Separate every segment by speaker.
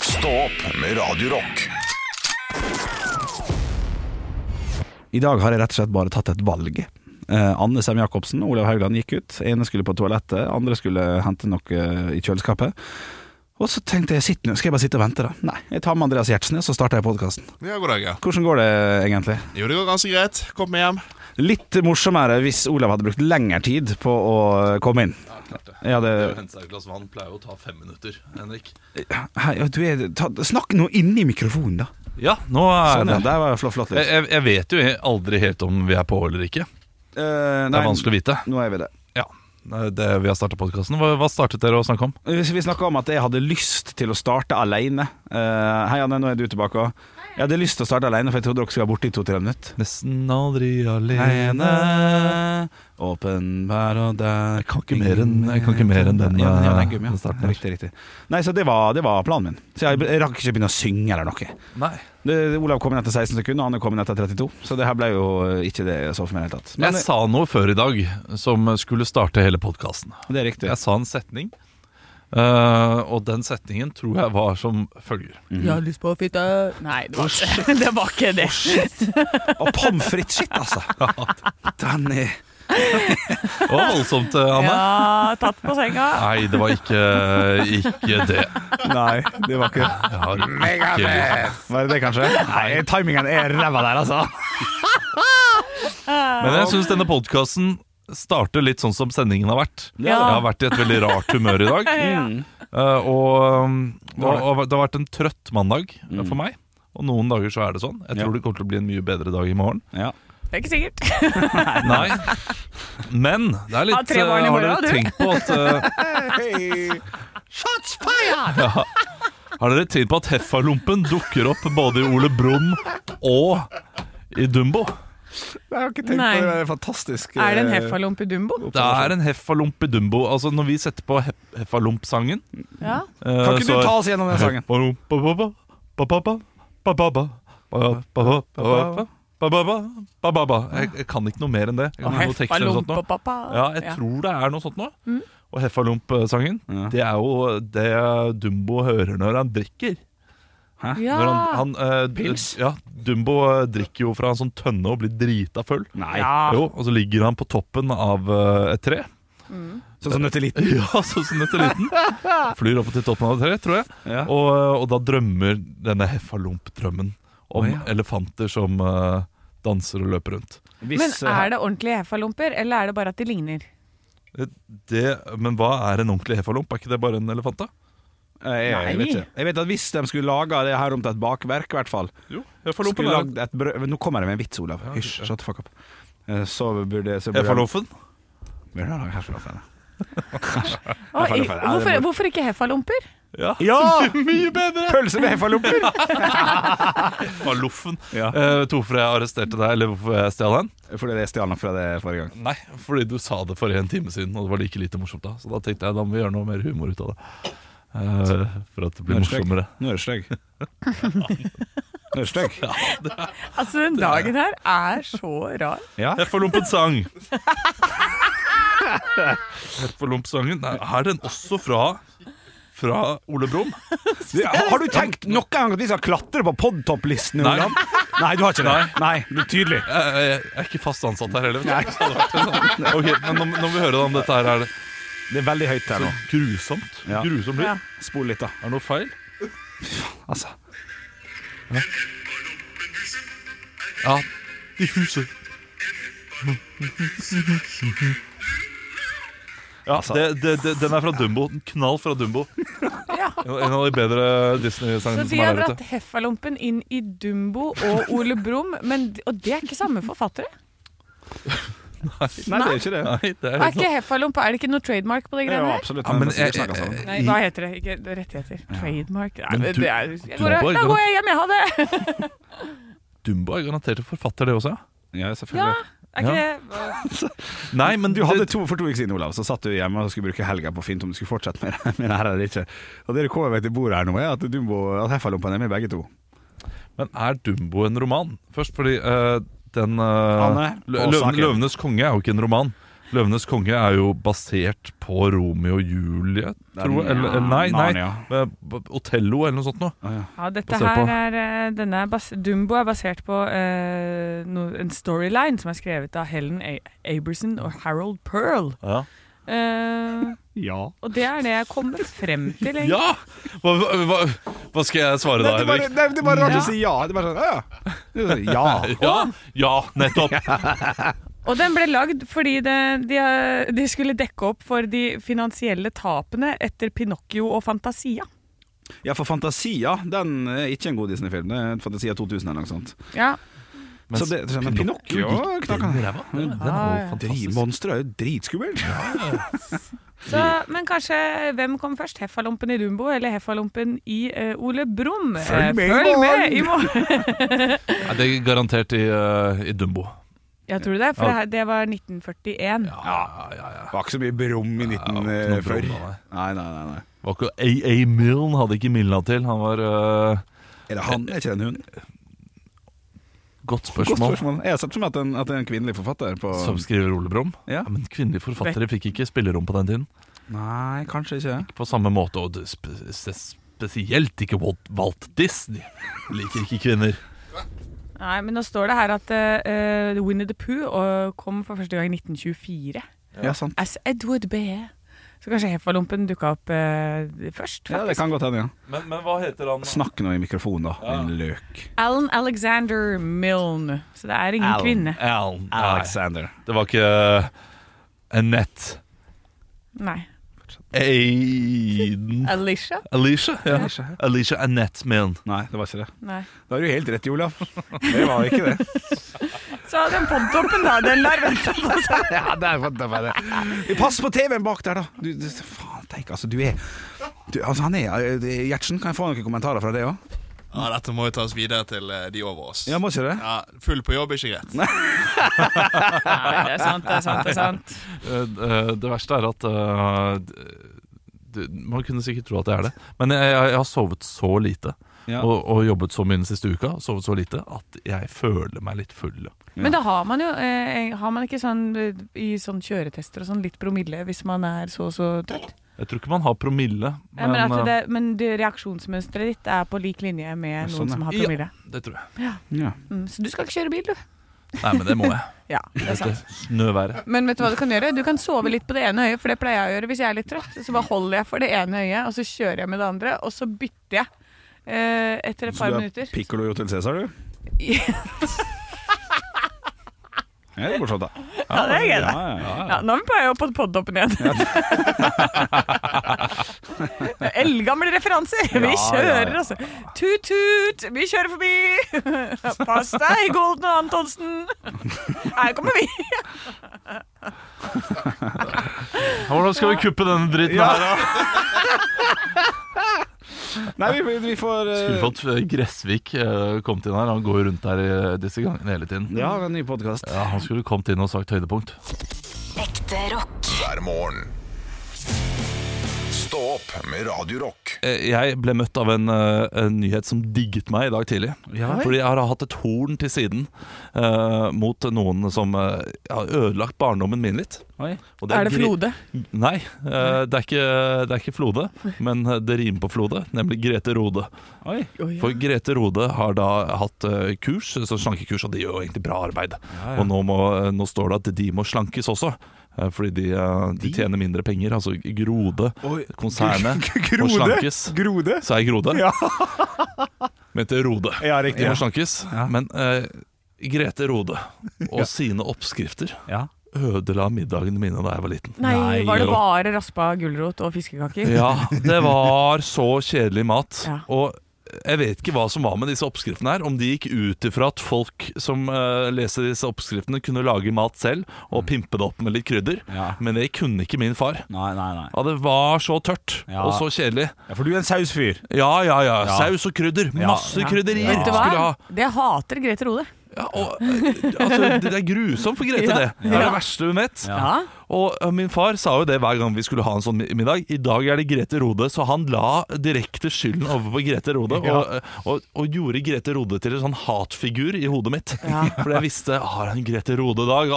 Speaker 1: Stå opp med Radio Rock.
Speaker 2: I dag har jeg rett og slett bare tatt et valg. Eh, Anne Sem Jacobsen og Olav Haugland gikk ut. Ene skulle på toalettet, andre skulle hente noe eh, i kjøleskapet. Og så tenkte jeg, sitt nå, skal jeg bare sitte og vente da? Nei, jeg tar med Andreas Gjertsen, og så starter jeg podkasten.
Speaker 3: Ja, god dag, ja.
Speaker 2: Hvordan går det egentlig?
Speaker 3: Jo, det går ganske greit. Kom med hjem.
Speaker 2: Litt morsommere hvis Olav hadde brukt lengre tid på å komme inn.
Speaker 4: Ja, klart det.
Speaker 2: Ja, det...
Speaker 4: Det å hente seg et glass vann pleier jo å ta fem minutter, Henrik.
Speaker 2: Hei, du er... Ta... Snakk nå inn i mikrofonen da.
Speaker 4: Ah, Ja, nå er
Speaker 2: Sånn, ja. eh,
Speaker 4: det
Speaker 2: Der var flott, flott
Speaker 4: jeg,
Speaker 2: lys.
Speaker 4: jeg- jeg vet jo aldri helt om vi er på eller ikke. Det
Speaker 2: Eh,
Speaker 4: er
Speaker 2: nei,
Speaker 4: vanskelig å vite.
Speaker 2: Nå er vi det.
Speaker 4: Ja, det, Vi har starta podkasten. Hva, hva startet dere å snakke om?
Speaker 2: Hvis vi snakka om at jeg hadde lyst til å starte alene Eh, Hei, Anne, nå er du tilbake òg. Jeg hadde lyst til å starte alene, for jeg trodde dere skulle være borte i to-tre minutter.
Speaker 4: Nesten aldri alene.
Speaker 2: Alene, åpen hver og der
Speaker 4: Jeg kan ikke mer enn- jeg kan ikke mer enn den,
Speaker 2: ja, den, ja, den
Speaker 4: eh,
Speaker 2: gummi,
Speaker 4: den starten
Speaker 2: ja.
Speaker 4: her.
Speaker 2: Riktig, riktig. Nei, så det var, det var planen min. Så jeg, jeg rakk ikke begynne å synge eller noe.
Speaker 4: Nei.
Speaker 2: Det, Olav kom inn etter 16 sekunder, og Anne kom inn etter 32. Så det her ble jo eh, ikke det jeg så for meg i det hele tatt. Men
Speaker 4: Jeg sa noe før i dag som skulle starte hele podkasten.
Speaker 2: eh, det er riktig.
Speaker 4: Jeg sa en setning, eh, og den setningen tror jeg var som følger.
Speaker 5: Jeg har lyst på fitte Nei, det var ikke det. Var ikke det.
Speaker 2: Og pommes frites, shit, altså! Den er
Speaker 4: Det var voldsomt, eh, Anne.
Speaker 5: Ja, tatt på senga.
Speaker 4: Nei, det var ikke, ikke det.
Speaker 2: Nei, det var ikke
Speaker 4: Jeg har ikke
Speaker 2: Var det det, kanskje? Nei, timingen er ræva der, altså.
Speaker 4: Men jeg syns denne podkasten starter litt sånn som sendingen har vært.
Speaker 5: Ja.
Speaker 4: Jeg har vært i et veldig rart humør i dag. eh, Og, um, og, og det har vært en trøtt mandag eh, for meg. Og noen dager så er det sånn. Jeg
Speaker 2: Mm. Ja.
Speaker 4: tror det kommer til å bli en mye bedre dag i morgen.
Speaker 2: Ja.
Speaker 5: Det er ikke sikkert.
Speaker 4: Nei. Men det er
Speaker 5: Ha
Speaker 4: litt
Speaker 5: tre
Speaker 4: eh,
Speaker 5: barn i
Speaker 4: Har
Speaker 5: morgen,
Speaker 4: dere
Speaker 5: du.
Speaker 4: tenkt på at eh, ja, Har dere tenkt på at Heffalumpen dukker opp både i Ole Brumm og i Dumbo?
Speaker 2: Jeg har ikke tenkt
Speaker 5: Nei.
Speaker 2: på det. Det er fantastisk.
Speaker 5: Er det en
Speaker 2: eh,
Speaker 5: heffalomp i Dumbo?
Speaker 4: Det
Speaker 2: sånn.
Speaker 4: er en heffalump i Dumbo. Altså Når vi setter på hef eh, heffalump-sangen
Speaker 5: Ja.
Speaker 2: Kan ikke du ta oss gjennom den sangen?
Speaker 4: Jeg, jeg kan ikke noe mer enn det. Jeg
Speaker 5: Og
Speaker 4: kan ikke noe tekst eller noe sånt
Speaker 5: heffalomp
Speaker 4: sånn nå.
Speaker 5: og pappa.
Speaker 4: Ja, jeg tror det er noe sånt nå.
Speaker 5: Mm.
Speaker 4: Og Heffalump-sangen,
Speaker 2: Ja.
Speaker 4: det er jo det Dumbo hører når han drikker.
Speaker 5: Ja.
Speaker 4: Når han, han, eh, d-
Speaker 2: Pils?
Speaker 4: Ja, Dumbo eh, drikker jo fra en sånn tønne og blir drita full.
Speaker 2: Nei.
Speaker 5: ja.
Speaker 4: Jo, og så ligger han på toppen av eh, et tre.
Speaker 2: Sånn som nøtteliten.
Speaker 4: Ja, sånn som nøtteliten. Flyr opp til toppen av et tre, tror jeg.
Speaker 2: Ja.
Speaker 4: Og, og da drømmer denne heffalump-drømmen om
Speaker 2: Å, ja.
Speaker 4: elefanter som eh, danser og løper rundt.
Speaker 5: Men
Speaker 2: eh,
Speaker 5: er det ordentlige heffalomper, eller er det bare at de ligner?
Speaker 4: Det, men hva er en ordentlig heffalump? Er ikke det bare en elefant, da?
Speaker 2: eh, jeg, jeg, vet ikke. jeg vet at hvis de skulle laga det her om til et bakverk, i hvert fall
Speaker 4: Jo,
Speaker 2: Skulle
Speaker 4: heffalumpen er
Speaker 2: lagd et brød Men Nå kommer jeg med en vits, Olav.
Speaker 4: Ja,
Speaker 2: Hysj,
Speaker 4: ja.
Speaker 2: shut the fuck up. Eh, Så burde så burde-
Speaker 4: Heffalumpen?
Speaker 2: Burde jeg lage herfra fra det.
Speaker 5: Å, i,
Speaker 2: Heffalomper, ja, det er
Speaker 5: hvorfor,
Speaker 2: bare-
Speaker 5: hvorfor ikke heffalomper?
Speaker 4: Ja.
Speaker 2: Ja!
Speaker 4: Mye bedre!
Speaker 2: Pølse med heffalomper!
Speaker 4: Heffaloffen.
Speaker 2: Ja.
Speaker 4: Eh, vet du hvorfor jeg arresterte deg, eller hvorfor jeg stjal den?
Speaker 2: Fordi det stjal han fra det forrige gang.
Speaker 4: Nei, fordi du sa det for en time siden, og det var like lite morsomt da. Så da tenkte jeg da må vi gjøre noe mer humor ut av det. Eh, for at det blir
Speaker 2: Nå er det
Speaker 4: morsommere.
Speaker 2: Nå er du stygg. Nå er du stygg.
Speaker 5: Altså, den dagen her er så rar.
Speaker 2: Ja.
Speaker 4: Heffalumpen sang. Heffalump-sangen. Nei, Er den også fra fra Ole Brumm?
Speaker 2: Du, har du tenkt noen gang at vi skal klatre på podtopplisten?
Speaker 4: sånn- Nei.
Speaker 2: Olav? Nei, du har ikke det. Nei, du er tydelig.
Speaker 4: Jeg, jeg, jeg er ikke fast ansatt her heller. vet du. Så det hadde vært en sånn- Ok, men nå, nå må vi høre da om dette her er det
Speaker 2: Det er veldig høyt her nå.
Speaker 4: grusomt.
Speaker 2: Ja.
Speaker 4: Grusom lyd.
Speaker 5: Ja.
Speaker 2: Spol litt, da.
Speaker 4: Er det noe feil?
Speaker 2: Altså.
Speaker 4: Ja. I huset. Ja, det, det, det, den er fra Dumbo. En knall fra Dumbo.
Speaker 5: Ja.
Speaker 4: En av de bedre
Speaker 5: Så
Speaker 4: Disney-sangene
Speaker 5: de
Speaker 4: som
Speaker 5: har
Speaker 4: er der
Speaker 5: dratt
Speaker 4: ute.
Speaker 5: heffalompen inn i Dumbo og Ole Brumm, men- og det er ikke samme forfattere?
Speaker 2: Nei, det er ikke det.
Speaker 4: Nei, det er
Speaker 5: Er
Speaker 4: helt
Speaker 5: ikke heffalomp, er det ikke noe trademark på de
Speaker 2: Det er
Speaker 5: greiene
Speaker 2: jo
Speaker 5: her?
Speaker 2: absolutt
Speaker 4: Ja, men
Speaker 2: men,
Speaker 4: jeg-
Speaker 2: vi snakker sammen.
Speaker 5: Nei, hva heter det? Ikke det er rettigheter. Trademark Nei,
Speaker 4: Men
Speaker 5: det,
Speaker 4: du-
Speaker 5: det er, jeg
Speaker 4: du må
Speaker 5: går,
Speaker 4: bare-
Speaker 5: Da går jeg hjem, jeg har det!
Speaker 4: Dumbo er garantert en forfatter, det også. ja.
Speaker 2: Ja,
Speaker 5: Ja,
Speaker 2: selvfølgelig.
Speaker 5: er ikke
Speaker 4: Ja.
Speaker 5: det
Speaker 4: Nei, men
Speaker 2: Du hadde to, for to uker siden, Olav, så satt du hjemme og skulle bruke helga på å finne ut om du skulle fortsette med det, men her er det ikke. Og det du kommer med til bordet her nå, er at Dumbo at Heffalumpen er med begge to.
Speaker 4: Men er Dumbo en roman? Først fordi eh, den eh,
Speaker 2: Anne,
Speaker 4: Lø-
Speaker 2: og
Speaker 4: Løven-
Speaker 2: saken.
Speaker 4: Løvenes konge er jo ikke en roman. 'Løvenes konge' er jo basert på Romeo og Julie, tror jeg. Eller, eller nei, nei.
Speaker 2: Narnia.
Speaker 4: eh, B- Otello eller noe sånt noe.
Speaker 2: Å, ja.
Speaker 5: Ja, dette
Speaker 4: Basert på-
Speaker 5: her er, eh, denne er bas Dumbo er basert på eh, no, en storyline som er skrevet av Helen A Aberson og Harold Pearl.
Speaker 4: Ja.
Speaker 5: Eh,
Speaker 3: Ja.
Speaker 5: og det er det jeg kommer frem til. egentlig.
Speaker 4: Ja! Hva, hva, hva skal jeg svare da,
Speaker 2: Det er bare,
Speaker 4: Henrik?
Speaker 2: det er- det er bare rart
Speaker 5: Ja.
Speaker 2: å si ja. Det er bare sånn, ja, ja. Det er sånn, ja.
Speaker 4: Ja, ja, nettopp.
Speaker 5: Og den ble lagd fordi det, de, eh, de skulle dekke opp for de finansielle tapene etter Pinocchio og Fantasia.
Speaker 2: ja, for Fantasia den er ikke en god Disney-film. Det er Fantasia 2000 eller noe sånt.
Speaker 5: Ja,
Speaker 2: Så det, så men Pinocchio
Speaker 4: gikk
Speaker 2: knakk
Speaker 4: den
Speaker 2: han.
Speaker 4: ræva. Den er
Speaker 5: Ja, ja.
Speaker 4: jo fantastisk.
Speaker 2: Monstre er jo dritskummelt.
Speaker 5: så, Men kanskje hvem kom først? Heffalompen i Dumbo eller Heffalompen i eh, Ole Brumm?
Speaker 2: Følg
Speaker 5: Eh,
Speaker 2: med i
Speaker 5: Følg
Speaker 2: morgen!
Speaker 5: med i morgen!
Speaker 4: Nei, det er garantert i, eh, i Dumbo.
Speaker 5: Ja, tror du det? For det, her- det var 1941.
Speaker 4: Ja, Eh, ja, ja.
Speaker 2: Det var ikke så mye brum i
Speaker 4: Ja, det var ikke
Speaker 2: 1940.
Speaker 4: noe brum da,
Speaker 2: Nei, nei, nei. nei.
Speaker 4: Var ikke A.A. Milne hadde ikke Milna til. Han var eh,
Speaker 2: Er det han? Er ikke det en hund?
Speaker 4: Godt
Speaker 2: Godt
Speaker 4: spørsmål.
Speaker 2: spørsmål. Jeg har sett som at en, at det er en kvinnelig forfatter på
Speaker 4: Som skriver Ole Brumm.
Speaker 2: ja.
Speaker 4: Ja, men kvinnelige forfattere fikk ikke spillerom på den tiden.
Speaker 2: Nei, kanskje ikke.
Speaker 4: På samme måte, og det spe spe- spesielt ikke Walt, Walt Disney. Liker ikke kvinner.
Speaker 5: Nei, men nå står det her at eh, eh, Winnie the Pooh eh, kom for første gang i 1924.
Speaker 2: Ja, sant.
Speaker 5: As Edward B. Så kanskje Heffalumpen dukka opp eh, først.
Speaker 2: Ja, det
Speaker 5: faktisk.
Speaker 2: kan godt hende, ja.
Speaker 4: Men, hva heter han
Speaker 2: Snakk nå i mikrofonen, da. En løk.
Speaker 5: Alan Alexander Milne. Så det er ingen kvinne.
Speaker 4: Alan. Nei,
Speaker 2: Alexander.
Speaker 4: det var ikke eh, Annette.
Speaker 5: Nei.
Speaker 4: Aiden
Speaker 5: Alicia?
Speaker 4: Alicia? Ja.
Speaker 2: Ikke her.
Speaker 4: Alicia Annette Milne.
Speaker 2: Nei, det var ikke det.
Speaker 5: Nei.
Speaker 2: Da har du helt rett, Olav. Det var ikke det.
Speaker 5: Så den podtoppen, da. Den der, vent da.
Speaker 2: ja, der var der var det. Pass på TV-en bak der, da! Du, du, faen, tenk, altså, du er du, Altså, han er eh, Gjertsen, kan jeg få noen kommentarer fra deg òg?
Speaker 3: ja, dette må jo tas videre til eh, de over oss.
Speaker 2: Ja, må ikke det?
Speaker 3: Ja, Full på jobb er ikke greit.
Speaker 5: Nei, det er sant, det er sant. det er sant.
Speaker 4: Eh, eh, Det verste er at eh, d- d- Man kunne sikkert tro at jeg er det, men jeg, jeg, jeg har sovet så lite.
Speaker 2: Ja.
Speaker 4: Og, og jobbet så mye den siste uka Sovet så lite at jeg føler meg litt full.
Speaker 5: Men da har man jo eh, Har man ikke sånn eh, i sånn kjøretester og sånn litt promille hvis man er så og så trøtt?
Speaker 4: Jeg tror ikke man har promille,
Speaker 5: Ja, men, at
Speaker 4: eh,
Speaker 5: det, men det reaksjonsmønsteret ditt er på lik linje med
Speaker 2: sånn,
Speaker 5: noen
Speaker 2: ja.
Speaker 5: som har
Speaker 4: Ja.
Speaker 5: promille.
Speaker 4: eh, det tror jeg.
Speaker 2: Ja.
Speaker 5: Mm, så du skal ikke kjøre bil, du.
Speaker 4: Nei, men det må jeg.
Speaker 5: Ja, det er sant.
Speaker 4: Dette snøværet.
Speaker 5: Men vet du hva du kan gjøre? Du kan sove litt på det ene øyet, for det pleier jeg å gjøre hvis jeg er litt trøtt. Så bare holder jeg for det ene øyet, og så kjører jeg med det andre, og så bytter jeg. eh, etter et
Speaker 2: Så
Speaker 5: par
Speaker 2: du er
Speaker 5: minutter.
Speaker 2: pikkolo jo til Cæsar, du? Ja, det er morsomt, da.
Speaker 5: Ja, det er gøy, da.
Speaker 2: Ja, ja, ja.
Speaker 5: Ja, nå er vi på vei opp på poddoppen igjen. Eldgamle referanser. Vi kjører, altså. Tut-tut, vi kjører forbi. Pass deg, Golden og Antonsen. Her kommer vi.
Speaker 4: Hvordan skal vi kuppe denne dritten her, da?
Speaker 2: Nei, vi, vi får eh,
Speaker 4: Skulle fått eh, Gressvik eh, kommet inn her. Han går jo rundt der eh, disse gangene hele tiden.
Speaker 2: Ja, en ny podkast.
Speaker 4: Ja, Han skulle kommet inn og sagt høydepunkt.
Speaker 6: Ekte rock.
Speaker 1: hver morgen. Stå opp med Radio Rock.
Speaker 4: Eh, Jeg ble møtt av en, eh, en nyhet som digget meg i dag tidlig. Fordi jeg har hatt et horn til siden eh, mot noen som eh, har ødelagt barndommen min litt.
Speaker 2: Oi.
Speaker 4: Og
Speaker 5: Er det
Speaker 4: Gri-
Speaker 5: Flode?
Speaker 4: Nei, eh, det, er ikke, det er ikke Flode, men eh, det rimer på Flode, nemlig Grete Rode.
Speaker 2: Oi.
Speaker 4: For Grete Rode har da hatt eh, kurs, så slankekurs, og de gjør jo egentlig bra arbeid. Og nå, må, nå står det at de må slankes også. eh, Fordi de, eh, de tjener mindre penger. Altså Grode,
Speaker 2: Oi.
Speaker 4: konsernet, må
Speaker 2: Grode?
Speaker 4: slankes.
Speaker 2: Grode?
Speaker 4: Sa jeg Grode?
Speaker 2: Ja.
Speaker 4: Mente Rode.
Speaker 2: Ja,
Speaker 4: De
Speaker 2: riktig.
Speaker 4: må slankes.
Speaker 2: Ja.
Speaker 4: Men eh, Grete Rode og sine oppskrifter
Speaker 2: Ja.
Speaker 4: ødela middagene mine da jeg var liten.
Speaker 5: Nei, var det
Speaker 4: jo.
Speaker 5: bare raspa gulrot og fiskekaker?
Speaker 4: Ja, det var så kjedelig mat.
Speaker 5: Ja.
Speaker 4: Og jeg vet ikke hva som var med disse oppskriftene her. Om de gikk ut ifra at folk som eh, leser disse oppskriftene, kunne lage mat selv
Speaker 5: Mm.
Speaker 4: og pimpe det opp med litt krydder.
Speaker 2: Ja.
Speaker 4: Men det kunne ikke min far.
Speaker 2: Nei, nei, nei.
Speaker 4: Ja, det var så tørt
Speaker 2: Ja.
Speaker 4: og så kjedelig.
Speaker 2: Ja, for du er en sausfyr.
Speaker 4: Ja, ja, ja.
Speaker 2: Ja.
Speaker 4: Saus og krydder.
Speaker 2: Ja.
Speaker 4: Masse
Speaker 2: Ja.
Speaker 4: krydderier
Speaker 5: Vet du
Speaker 4: skulle jeg ha.
Speaker 5: hva? Det hater Grete Rode.
Speaker 4: Ja, og, eh, altså, det er grusomt for Grete,
Speaker 5: Ja.
Speaker 4: det. Det er det verste hun vet.
Speaker 5: Ja.
Speaker 4: Og eh, min far sa jo det hver gang vi skulle ha en sånn mi- middag. I dag er det Grete Rode, så han la direkte skylden over på Grete Rode. Og, eh, og, og gjorde Grete Rode til en sånn hatfigur i hodet mitt. For jeg visste Har han Grete Rode-dag?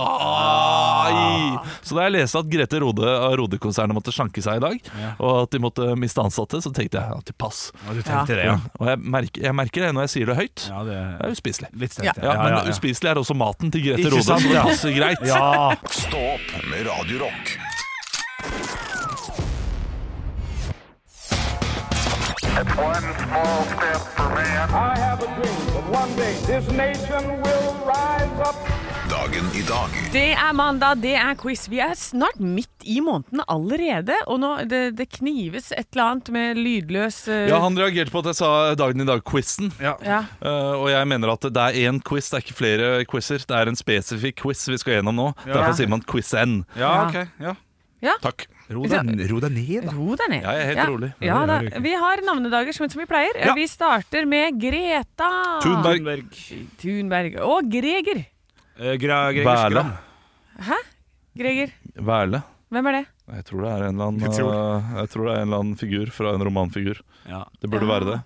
Speaker 2: Ah.
Speaker 4: Så da jeg leste at Grete Rode og Rode-konsernet måtte slanke seg i dag, og at de måtte miste ansatte, så tenkte jeg at de pass.
Speaker 2: du
Speaker 5: tenkte
Speaker 2: det,
Speaker 4: Og jeg merker, jeg merker det når jeg sier det høyt.
Speaker 2: Ja, det
Speaker 4: Det er uspiselig.
Speaker 2: litt
Speaker 5: Ja.
Speaker 2: sterkt.
Speaker 4: Ja, men uspiselig er også maten til Grete
Speaker 2: Ikke
Speaker 4: Rode, så
Speaker 2: sant,
Speaker 4: det
Speaker 2: ja.
Speaker 4: passer greit.
Speaker 2: Ja.
Speaker 1: Stå opp med Radio Rock.
Speaker 7: One small step for man. I have a dream that one day this nation will rise up.
Speaker 1: Dagen i dag
Speaker 5: Det er mandag, det er quiz. Vi er snart midt i måneden allerede. Og nå, det, det knives et eller annet med lydløs eh,
Speaker 4: Ja, han reagerte på at jeg sa dagen i dag-quizen.
Speaker 5: ja.
Speaker 4: og jeg mener at det er én quiz, det er ikke flere quizer. Det er en spesifikk quiz vi skal gjennom nå. Derfor sier man quiz-n.
Speaker 2: ja, ok. Ja.
Speaker 5: Ja.
Speaker 4: Takk.
Speaker 2: Ro deg ro deg ned, da.
Speaker 5: Ro deg ned.
Speaker 4: Jeg er helt rolig.
Speaker 5: Ja, da. Vi har navnedager som, som vi pleier.
Speaker 4: Ja.
Speaker 5: Vi starter med Greta
Speaker 4: Thunberg.
Speaker 5: Thunberg. Og Greger.
Speaker 2: Eh, Gra- Greger
Speaker 4: Berle.
Speaker 2: Skram.
Speaker 5: Greger,
Speaker 2: Ah.
Speaker 4: Verle.
Speaker 5: hvem er det?
Speaker 4: Jeg tror det er en eller annen,
Speaker 2: Jeg tror
Speaker 4: eh, jeg tror det er en eller annen figur fra en romanfigur.
Speaker 2: Ja.
Speaker 4: Det burde være det.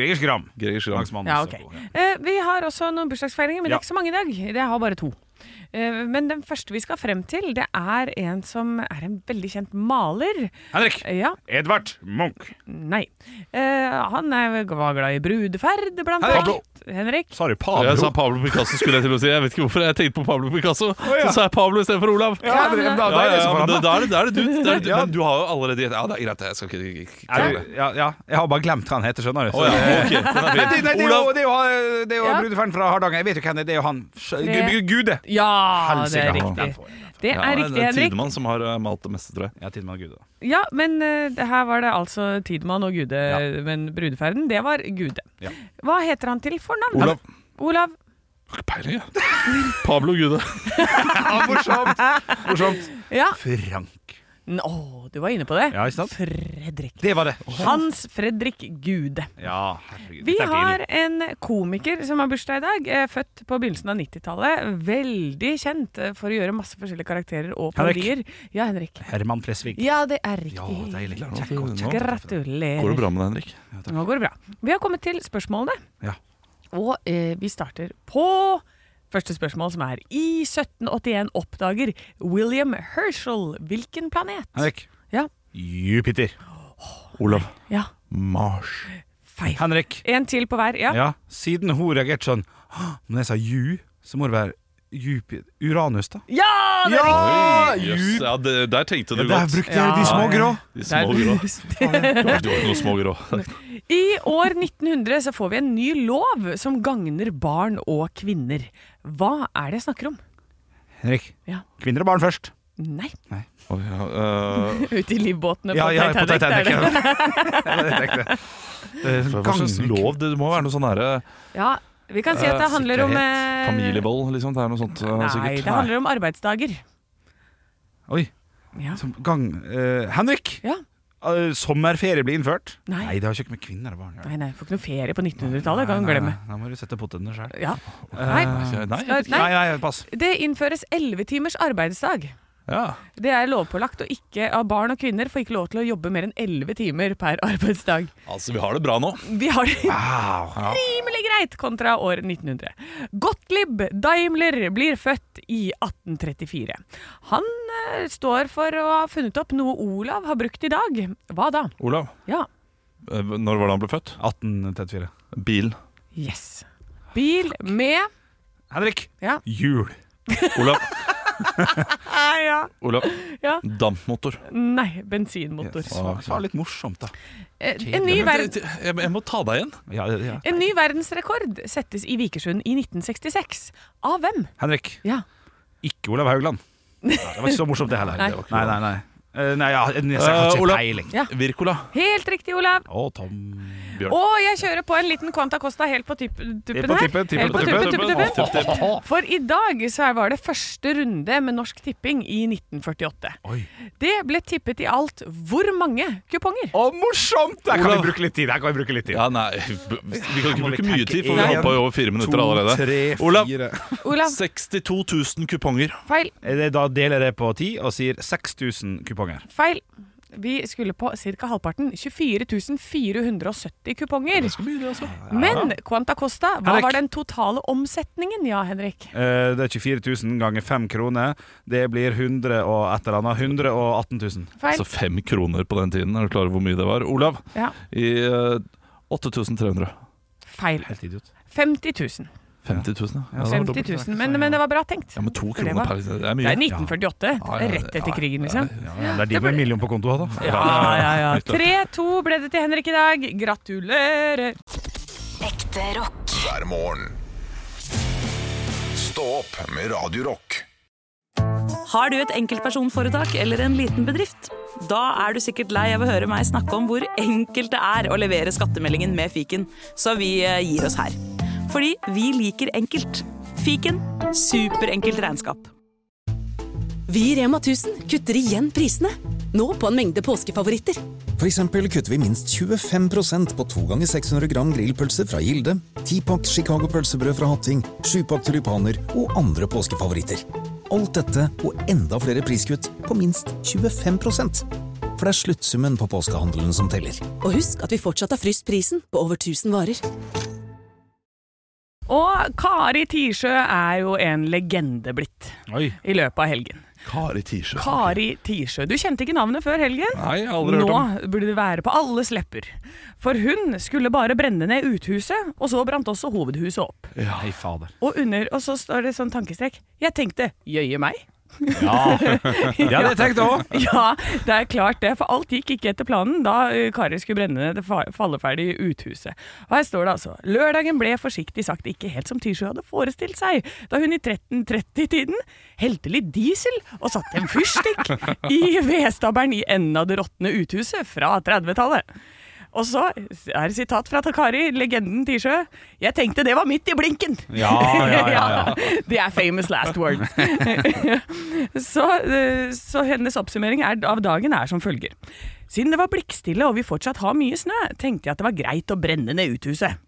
Speaker 2: Greger Skram.
Speaker 4: Greger Skram.
Speaker 2: Langsmannen
Speaker 5: Ja,
Speaker 2: som
Speaker 5: ok.
Speaker 2: bor her.
Speaker 5: Eh, vi har også noen bursdagsfeiringer, men det
Speaker 2: Ja.
Speaker 5: er ikke så mange i dag. Jeg har bare to. Eh, men den første vi skal frem til, det er en som er en veldig kjent maler.
Speaker 2: Henrik.
Speaker 5: Eh, ja,
Speaker 2: Edvard Munch.
Speaker 5: nei. Eh, han er, var glad i brudeferd, blant
Speaker 2: Henrik.
Speaker 5: annet. Henrik.
Speaker 2: Sorry,
Speaker 4: Jeg sa
Speaker 2: Pablo.
Speaker 4: Pablo Picasso, skulle jeg til å si. Jeg vet ikke hvorfor jeg tenkte på Pablo Picasso.
Speaker 2: ja.
Speaker 4: Så sa jeg Pablo istedenfor Olav.
Speaker 5: Ja, men-
Speaker 2: det- da-
Speaker 4: Ja,
Speaker 2: da er
Speaker 4: ja,
Speaker 2: det som
Speaker 4: ja,
Speaker 2: for
Speaker 4: men
Speaker 2: han,
Speaker 4: da- da er det da er det du. Da er det du.
Speaker 2: Ja.
Speaker 4: Men du har jo allerede Ja, det er greit, jeg skal ikke- ikke
Speaker 2: Er
Speaker 4: ikke-
Speaker 2: du- ja, ja, jeg har bare glemt hva han heter, skjønner du.
Speaker 4: Å ja, ok, den er fin.
Speaker 2: Men det, det, det, er jo- det er jo, det er jo
Speaker 5: Ja.
Speaker 2: brudefaren fra Hardanger. Jeg vet jo hvem det er. Det er jo han Gu- Gude.
Speaker 5: Ja, det
Speaker 2: Helsike,
Speaker 5: er
Speaker 2: han- den får jeg,
Speaker 5: riktig.
Speaker 2: den får jeg.
Speaker 5: Det er
Speaker 4: det
Speaker 5: riktig,
Speaker 4: er
Speaker 5: Henrik.
Speaker 4: Tidemann som har eh, malt det meste, tror jeg.
Speaker 2: Ja, Tidemann Gude, da.
Speaker 5: Ja, men eh, det her var det altså Tidemann og Gude,
Speaker 2: Ja.
Speaker 5: men brudeferden, det var Gude.
Speaker 2: Ja.
Speaker 5: Hva heter han til fornavn?
Speaker 4: Olav.
Speaker 5: Olav.
Speaker 4: Har ikke peiling, jeg. Pablo Gude.
Speaker 2: morsomt! morsomt.
Speaker 5: Ja.
Speaker 2: Frank.
Speaker 5: N- Å, du var inne på det.
Speaker 2: Ja, ikke sant?
Speaker 5: Fredrik.
Speaker 2: Det var det.
Speaker 5: Hans Fredrik Gude.
Speaker 2: Ja, herregud.
Speaker 5: Vi
Speaker 2: dette er
Speaker 5: har en komiker som har bursdag i dag. eh, Født på begynnelsen av 90-tallet. Veldig kjent eh, for å gjøre masse forskjellige karakterer og
Speaker 2: Henrik.
Speaker 5: parodier. Ja, Henrik.
Speaker 2: pinlig. Herman Flesvig.
Speaker 5: Ja, det er
Speaker 2: Ja,
Speaker 5: riktig.
Speaker 2: deilig.
Speaker 4: Nå
Speaker 2: Kjekk.
Speaker 4: går det
Speaker 5: Gratulerer.
Speaker 4: bra med deg, Henrik.
Speaker 5: Nå går det bra. Vi har kommet til spørsmålene.
Speaker 2: Ja.
Speaker 5: Og eh, vi starter på første spørsmål, som er I 1781 oppdager William Herschel hvilken planet?
Speaker 2: Henrik.
Speaker 5: Ja.
Speaker 2: Jupiter.
Speaker 4: Olav.
Speaker 5: Ja,
Speaker 4: Mars.
Speaker 5: feil.
Speaker 2: Henrik.
Speaker 5: En til på hver. Ja.
Speaker 2: Ja, siden hun reagerte sånn «Hå, Når jeg sa ju, så må det være Jupiter Uranus, da.
Speaker 5: Ja! det er
Speaker 2: Ja!
Speaker 4: Jøss, ja, det, der tenkte du
Speaker 2: Der
Speaker 4: godt.
Speaker 2: brukte
Speaker 5: Ja.
Speaker 2: jeg de små grå.
Speaker 4: De
Speaker 5: Der-
Speaker 4: små grå. Du var ikke noe små grå.
Speaker 5: I år 1900 så får vi en ny lov som gagner barn og kvinner. Hva er det jeg snakker om?
Speaker 2: Henrik.
Speaker 5: Ja.
Speaker 2: Kvinner og barn først.
Speaker 5: Nei,
Speaker 4: Oi, ja, eh,
Speaker 5: ute i livbåtene på
Speaker 2: Ja, ja, på
Speaker 5: Titanic.
Speaker 2: Titanic.
Speaker 5: er det.
Speaker 4: Hva slags lov? Det må være noe sånn derre
Speaker 5: ja, vi kan si at det handler om eh,
Speaker 4: familievold, liksom. Det er noe sånt eh,
Speaker 5: Nei, det
Speaker 4: sikkert.
Speaker 5: handler om arbeidsdager.
Speaker 2: Oi,
Speaker 5: Ja.
Speaker 2: som gang eh, Henrik!
Speaker 5: ja.
Speaker 2: Eh, sommerferie blir innført?
Speaker 5: Nei.
Speaker 2: det har jo ikke med kvinner og barn å gjøre.
Speaker 5: Nei, nei, får ikke noe ferie på 1900-tallet, kan du glemme.
Speaker 2: Nei, Da må du sette potene sjøl.
Speaker 5: Ja. Nei.
Speaker 4: Nei, nei,
Speaker 5: Nei.
Speaker 2: Nei, nei, pass.
Speaker 5: Det innføres 11 timers arbeidsdag.
Speaker 4: ja.
Speaker 5: Det er lovpålagt, og ikke av barn og kvinner får ikke lov til å jobbe mer enn 11 timer per arbeidsdag.
Speaker 4: Altså, vi har det bra nå.
Speaker 5: Vi har det rimelig greit kontra år 1900. Gottlieb Daimler blir født i 1834. Han eh, står for å ha funnet opp noe Olav har brukt i dag. Hva da?
Speaker 4: Olav,
Speaker 5: Ja,
Speaker 4: eh, når var det han ble født?
Speaker 2: 1834.
Speaker 4: Bilen.
Speaker 5: yes. Bil med
Speaker 2: Henrik!
Speaker 5: Ja.
Speaker 2: Jul.
Speaker 4: Olav,
Speaker 2: Ah,
Speaker 5: Nei, ja.
Speaker 4: Olav.
Speaker 5: Ja.
Speaker 4: Dampmotor.
Speaker 5: Nei, bensinmotor.
Speaker 2: Det var litt morsomt, da.
Speaker 5: Eh, En ny,
Speaker 4: Men
Speaker 5: verden,
Speaker 4: det- det- Jeg jeg må ta deg igjen.
Speaker 2: Ja, ja.
Speaker 5: en ny verdensrekord settes i Vikersund i 1966. Av hvem?
Speaker 2: Henrik.
Speaker 5: Ja.
Speaker 2: Ikke Olav Haugland. Nei, det var ikke så morsomt, det heller.
Speaker 5: Nei.
Speaker 2: Det var ikke nei, nei, nei. Eh, nei, ja, jeg, jeg, jeg har
Speaker 4: Eh,
Speaker 2: ikke
Speaker 4: Olav.
Speaker 2: peiling.
Speaker 5: Ja.
Speaker 4: Virkola.
Speaker 5: Helt riktig, Olav.
Speaker 2: Å, Tom
Speaker 4: Bjørn.
Speaker 5: Og jeg kjører på en liten Quanta Costa helt på tipp- tuppen
Speaker 2: på
Speaker 5: her.
Speaker 2: tippen, tippen,
Speaker 5: Helt på
Speaker 2: tippen,
Speaker 5: tuppen, tuppen, tuppen.
Speaker 4: tipp, tipp.
Speaker 5: For i dag så her var det første runde med Norsk Tipping i 1948. Det ble tippet i alt hvor mange kuponger?
Speaker 2: Å, morsomt! Der kan
Speaker 4: Olav.
Speaker 2: vi bruke litt tid. Der kan vi bruke litt tid.
Speaker 4: Ja, nei, vi kan ikke
Speaker 2: må
Speaker 4: bruke
Speaker 2: vi
Speaker 4: mye
Speaker 2: tenke
Speaker 4: tid, for vi har
Speaker 2: en,
Speaker 4: holdt på i over fire minutter
Speaker 2: to,
Speaker 4: allerede.
Speaker 2: Tre,
Speaker 4: Olav,
Speaker 2: fire.
Speaker 5: Olav,
Speaker 4: 62 000 kuponger.
Speaker 5: feil,
Speaker 2: Eh, Da deler jeg det på ti og sier 6000 kuponger.
Speaker 5: feil. Vi skulle på ca. halvparten. 24 470 kuponger. Men Quanta Costa, hva
Speaker 2: Henrik.
Speaker 5: var den totale omsetningen? Ja, Henrik.
Speaker 2: Eh, Det er 24 000 ganger 5 kroner. Det blir 100 og et eller annet. 118 000.
Speaker 5: Feil.
Speaker 4: Altså fem kroner på den tiden. Er du klar over hvor mye det var? Olav,
Speaker 5: Ja,
Speaker 4: i eh, 8300.
Speaker 5: feil.
Speaker 2: Helt idiot.
Speaker 5: 50 000.
Speaker 4: 50 000, ja.
Speaker 5: 50 000. Men, men det var bra tenkt.
Speaker 4: altså. Ja, men to
Speaker 5: For det
Speaker 4: kroner
Speaker 5: var-
Speaker 4: per Det er
Speaker 5: Det
Speaker 4: mye.
Speaker 5: er 1948.
Speaker 4: Ja, ja, ja,
Speaker 5: Rett etter
Speaker 4: ja,
Speaker 5: krigen, liksom.
Speaker 2: Ja, ja, det er de med en million på konto også, da.
Speaker 5: Ja, ja, ja. 3-2 ble det til Henrik i dag. Gratulerer!
Speaker 6: Ekte rock.
Speaker 1: hver morgen. Stå opp med Radio Rock.
Speaker 8: Har du et enkeltpersonforetak eller en liten bedrift? Da er du sikkert lei av å høre meg snakke om hvor enkelt det er å levere skattemeldingen med fiken, så vi eh, gir oss her. Fordi vi liker enkelt. Fiken superenkelt regnskap.
Speaker 9: Vi i Rema 1000 kutter igjen prisene. Nå på en mengde påskefavoritter.
Speaker 10: For eksempel kutter vi minst 25 på 2 ganger 600 gram grillpølser fra Gilde, 10-pakk Chicago pølsebrød fra Hatting, 7-pakk tulipaner og andre påskefavoritter. Alt dette og enda flere priskutt på minst 25 For det er sluttsummen på påskehandelen som teller.
Speaker 9: Og husk at vi fortsatt har fryst prisen på over 1000 varer.
Speaker 5: Og Kari Tisjø er jo en legende blitt
Speaker 4: Oi.
Speaker 5: i løpet av helgen.
Speaker 4: Kari Tisjø.
Speaker 5: Kari Tisjø. Du kjente ikke navnet før helgen?
Speaker 4: Nei, jeg har aldri
Speaker 5: Nå
Speaker 4: hørt om.
Speaker 5: burde det være på alles lepper. For hun skulle bare brenne ned uthuset, og så brant også hovedhuset opp.
Speaker 2: Hei, fader.
Speaker 5: Og under, og så står det sånn tankestrek. Jeg tenkte jøye meg.
Speaker 2: Ja, det hadde jeg tenkt òg.
Speaker 5: Ja, det er klart det, for alt gikk ikke etter planen da eh, Kari skulle brenne ned det fa- falleferdige uthuset. Og her står det altså Lørdagen ble forsiktig sagt ikke helt som Tysjø hadde forestilt seg, da hun i 13.30-tiden helte litt diesel og satte en fyrstikk i vedstabelen i enden av det råtne uthuset fra 30-tallet. Og så er det sitat fra Kari, legenden Tisjø. Jeg tenkte det var midt i blinken!
Speaker 2: Ja, ja, ja, ja.
Speaker 5: Det er famous last words. så, eh, så hennes oppsummering er, av dagen er som følger. Siden det var blikkstille og vi fortsatt har mye snø, tenkte jeg at det var greit å brenne ned uthuset.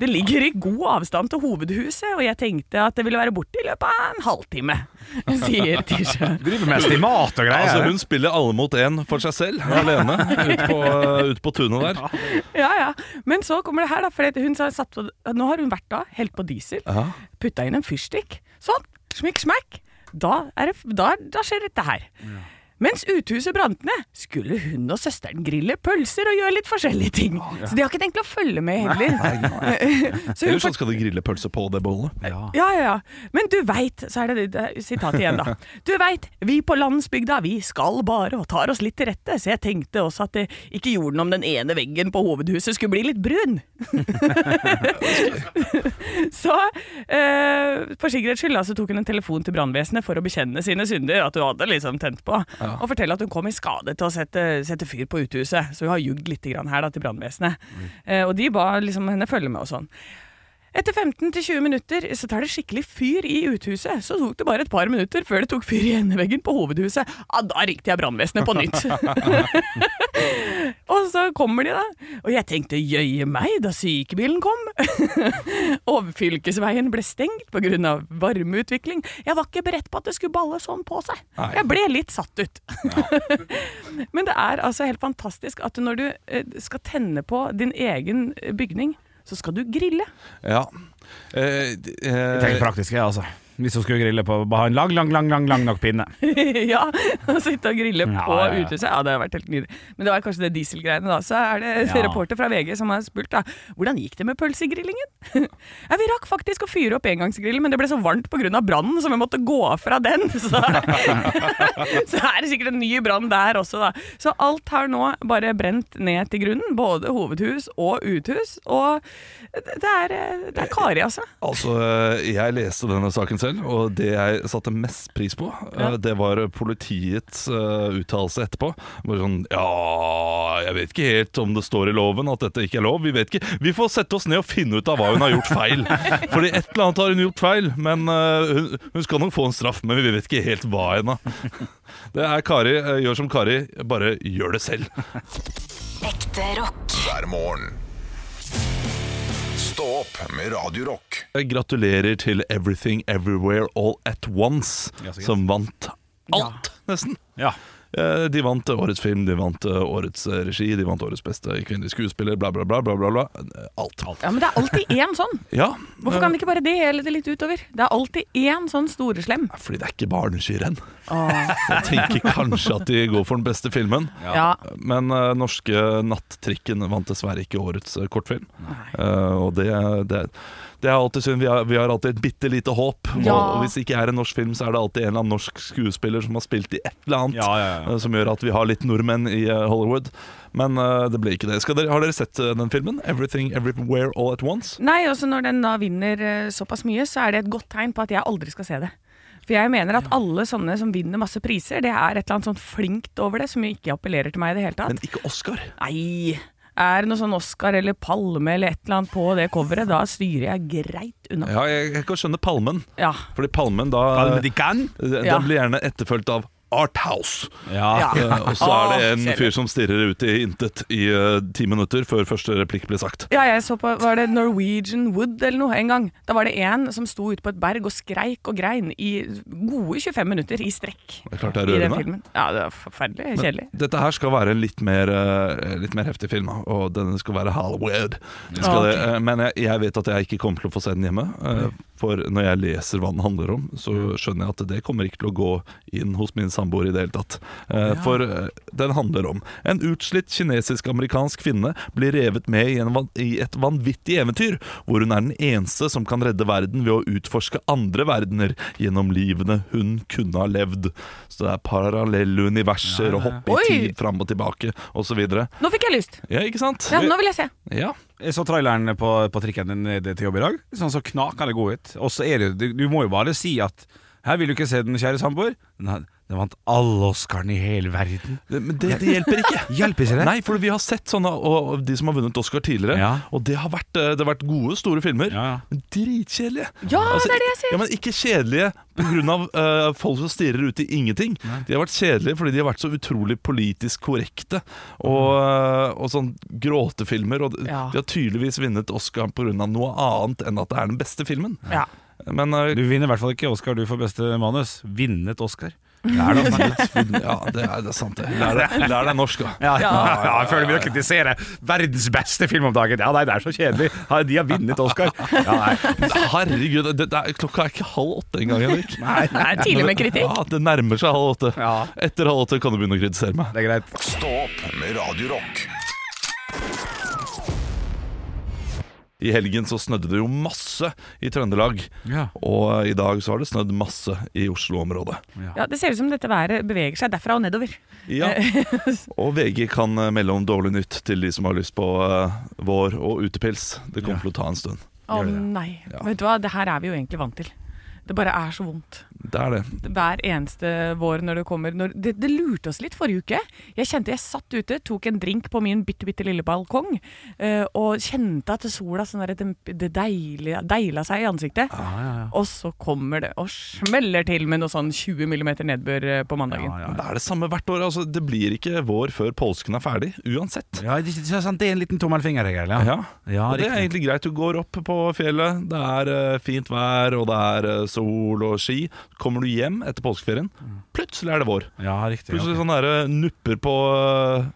Speaker 5: Det ligger i god avstand til hovedhuset, og jeg tenkte at det ville være borte i løpet av en halvtime, sier Tisha.
Speaker 2: Driver med estimat og greier.
Speaker 4: Altså, hun spiller alle mot én for seg selv, alene, ute på, eh, ut på tunet der.
Speaker 5: Ja, ja. Men så kommer det her, da. For hun sa- satt på, nå har hun vært da, helt på diesel, putta inn en fyrstikk. Sånn, smikk, smekk. Da, er det, da, da skjer dette her. Mens uthuset brant ned, skulle hun og søsteren grille pølser og gjøre litt forskjellige ting. Så de har ikke tenkt å følge med heller. Så hun
Speaker 4: Eller så skal de grille pølse på det bollet.
Speaker 5: ja, ja, ja. Men du veit, så er det det det er sitat igjen, da. Du veit, vi på landsbygda, vi skal bare og tar oss litt til rette, så jeg tenkte også at det, ikke jorden om den ene veggen på hovedhuset skulle bli litt brun. så eh, for sikkerhets skyld da, så tok hun en telefon til brannvesenet for å bekjenne sine synder, at hun hadde liksom tent på, og fortelle at hun kom i skade til å sette, sette fyr på uthuset. Så hun har jugd litt grann her da, til brannvesenet. Eh, og de ba liksom henne følge med og sånn. Etter 15-20 minutter så tar det skikkelig fyr i uthuset. Så tok det bare et par minutter før det tok fyr i endeveggen på hovedhuset. Ja, da ringte jeg brannvesenet på nytt. og så kommer de, da. Og jeg tenkte jøye meg da sykebilen kom. og fylkesveien ble stengt pga. varmeutvikling. Jeg var ikke beredt på at det skulle balle sånn på seg. Jeg ble litt satt ut. Men det er altså helt fantastisk at når du eh, skal tenne på din egen bygning, så skal du grille.
Speaker 4: Ja. Eh,
Speaker 2: Jeg tenker
Speaker 4: eh,
Speaker 2: praktisk, jeg, altså. Hvis hun skulle grille på bare ha en lang, lang, lang, lang, lang nok pinne.
Speaker 5: ja, å sitte og grille
Speaker 2: Ja,
Speaker 5: på
Speaker 2: ja, ja.
Speaker 5: uthuset. Ja, det har vært helt nydelig. Men det var kanskje det dieselgreiene, da. Så er det
Speaker 2: Ja.
Speaker 5: reporter fra VG som har spurt, da. Hvordan gikk det med pølsegrillingen? ja, vi rakk faktisk å fyre opp engangsgrillen, men det ble så varmt pga. brannen, så vi måtte gå fra den. Så, så er det sikkert en ny brann der også, da. Så alt har nå bare brent ned til grunnen. Både hovedhus og uthus. Og det er, det er Kari, altså.
Speaker 4: altså, eh, jeg leste denne saken selv. selv, og det jeg satte mest pris på, eh, det var politiets eh, uttalelse etterpå. Bare sånn Ja, jeg vet ikke helt om det står i loven at dette ikke er lov. Vi vet ikke. Vi får sette oss ned og finne ut av hva hun har gjort feil. Fordi et eller annet har hun gjort feil, men eh, hun, hun skal nok få en straff. Men vi vet ikke helt hva ennå. Det er Kari. eh, gjør som Kari, bare gjør det selv.
Speaker 6: Ekte rock.
Speaker 1: hver morgen. Stå opp med Radio Rock.
Speaker 4: Gratulerer til Everything Everywhere All At Once,
Speaker 2: Ja, så greit.
Speaker 4: som vant alt, nesten.
Speaker 2: Ja.
Speaker 4: Eh, De vant eh, årets film, de vant eh, årets eh, regi, de vant årets beste kvinnelige skuespiller, bla, bla, bla. bla, bla, bla. Eh, Alt.
Speaker 5: Ja, men det er alltid én sånn.
Speaker 4: Ja.
Speaker 5: Hvorfor kan de ikke bare dele det litt utover? Det er alltid én sånn storeslem.
Speaker 4: eh, Fordi det er ikke barneskirenn. Jeg tenker kanskje at de går for den beste filmen.
Speaker 5: Ja.
Speaker 4: Men eh, norske Nattrikken vant dessverre ikke årets eh, kortfilm. Eh, og det, det, det er alltid synd. Vi har, vi har alltid et bitte lite håp. Og,
Speaker 5: Ja.
Speaker 4: og hvis det ikke er en norsk film, så er det alltid en eller annen norsk skuespiller som har spilt i et eller annet.
Speaker 2: Ja, ja, ja.
Speaker 4: eh, som gjør at vi har litt nordmenn i eh, Hollywood. Men eh, det ble ikke det. Skal dere, har dere sett eh, den filmen? 'Everything Everywhere All At Once'?
Speaker 5: Nei, også når den da vinner eh, såpass mye, så er det et godt tegn på at jeg aldri skal se det. For jeg mener at alle sånne som vinner masse priser, det er et eller annet sånn flinkt over det som jo ikke appellerer til meg i det hele tatt.
Speaker 4: Men ikke Oscar.
Speaker 5: Nei. Er det noe sånn Oscar eller Palme eller et eller annet på det coveret, da styrer jeg greit unna.
Speaker 4: Ja, jeg, jeg kan skjønne Palmen.
Speaker 5: Ja.
Speaker 4: Fordi Palmen da eh,
Speaker 2: kan?
Speaker 4: Den
Speaker 5: Ja.
Speaker 4: blir gjerne etterfulgt av Arthouse.
Speaker 2: Ja.
Speaker 4: Eh, Og så er det
Speaker 5: Åh,
Speaker 4: en
Speaker 5: kjedelig.
Speaker 4: fyr som stirrer ut i intet i eh, ti minutter før første replikk blir sagt.
Speaker 5: Ja, jeg så på, Var det Norwegian Wood eller noe en gang? Da var det en som sto ute på et berg og skreik og grein i gode 25 minutter i strekk.
Speaker 4: Det er klart det er
Speaker 5: I den
Speaker 4: rørende.
Speaker 5: filmen. Ja, det var forferdelig
Speaker 4: Men
Speaker 5: kjedelig.
Speaker 4: Dette her skal være en litt mer, eh, litt mer heftig film, og den skal være Hollywood. Den Skal det, eh, men jeg, jeg vet at jeg ikke kommer til å få se den hjemme. eh, For når jeg leser hva den handler om, så skjønner jeg at det kommer ikke til å gå inn hos min samboer i det hele tatt. Eh, For eh, den handler om en utslitt kinesisk-amerikansk kvinne blir revet med i, en, van- i et vanvittig eventyr, hvor hun er den eneste som kan redde verden ved å utforske andre verdener gjennom livene hun kunne ha levd. Så det er parallelle universer og hoppe
Speaker 5: Oi!
Speaker 4: i tid fram og tilbake osv.
Speaker 5: Nå fikk jeg lyst!
Speaker 4: Ja, ikke sant?
Speaker 5: Ja, nå vil jeg se.
Speaker 4: Ja.
Speaker 2: Jeg så traileren på, på trikken ned til jobb i dag. Sånn så knakende god ut. Og så er det du, du må jo bare si at her vil du ikke se den, kjære samboer. Den, har- den vant alle Oscarene i hele verden.
Speaker 4: Det- Men det, det hjelper ikke.
Speaker 2: Hjelper ikke det?
Speaker 4: Nei, for vi har sett sånne og og de som har vunnet Oscar tidligere,
Speaker 2: Ja.
Speaker 4: og det har, vært, eh, det har vært gode, store filmer.
Speaker 2: Ja, ja.
Speaker 4: Men dritkjedelige. Altså,
Speaker 5: Ja, det er det jeg sier.
Speaker 4: Ja, men ikke kjedelige pga. Uh, folk som stirrer ut i ingenting. De har vært kjedelige fordi de har vært så utrolig politisk korrekte. Og, eh, og sånn gråtefilmer. Og
Speaker 5: Ja.
Speaker 4: De har tydeligvis vunnet Oscar pga. noe annet enn at det er den beste filmen.
Speaker 5: Ja.
Speaker 4: Men eh,
Speaker 2: Du vinner i hvert fall ikke Oscar du for beste manus. Vinnet Oscar. Det er det altså.
Speaker 4: ja, det er, det er sant, det. Lær deg- lær deg norsk, da.
Speaker 2: Ja, ja, ja, jeg føler vi å kritisere verdens beste film om dagen. Ja, nei, det er så kjedelig. Ja, De har vunnet Oscar. Ja, nei.
Speaker 4: Herregud, det, det er, klokka er ikke halv åtte engang, Henrik.
Speaker 5: Det er tidlig med kritikk.
Speaker 4: Ja, det nærmer seg halv åtte.
Speaker 2: Ja.
Speaker 4: Etter halv åtte kan du begynne å kritisere meg.
Speaker 2: Det er greit.
Speaker 1: Stå opp med Radio Rock.
Speaker 4: I helgen så snødde det jo masse i Trøndelag,
Speaker 2: Ja.
Speaker 4: og eh, i dag så har det snødd masse i Oslo-området.
Speaker 5: Ja, Det ser ut som dette været beveger seg derfra og nedover.
Speaker 4: Ja.
Speaker 5: Eh.
Speaker 4: Og VG kan eh, melde om dårlig nytt til de som har lyst på eh, vår og utepils. Det kommer til å ta en stund.
Speaker 5: Å
Speaker 2: Gjør det det?
Speaker 5: nei. Vet du hva, det her er vi jo egentlig vant til. Det bare er så vondt.
Speaker 4: Det er det.
Speaker 5: Hver eneste vår når det kommer når, det, det lurte oss litt forrige uke. Jeg kjente jeg satt ute, tok en drink på min bitte, bitte lille balkong, eh, og kjente at sola sånn der, demp- det deila, deila seg i ansiktet.
Speaker 2: Ah,
Speaker 5: Og så kommer det og smeller til med noe sånn 20 mm nedbør eh, på mandagen.
Speaker 4: Men det er det samme hvert år. Altså, det blir ikke vår før påsken er ferdig, uansett.
Speaker 2: Ja, det, det er sant. det er en liten tommelfingerregel.
Speaker 4: Ja.
Speaker 2: Ja,
Speaker 4: og det er
Speaker 2: riktig.
Speaker 4: egentlig greit. Du går opp på fjellet, det er eh, fint vær, og det er eh, sol og ski. Kommer du hjem etter påskeferien, plutselig er det vår.
Speaker 2: Ja, riktig.
Speaker 4: Plutselig
Speaker 2: ok.
Speaker 4: sånn derre nupper på eh,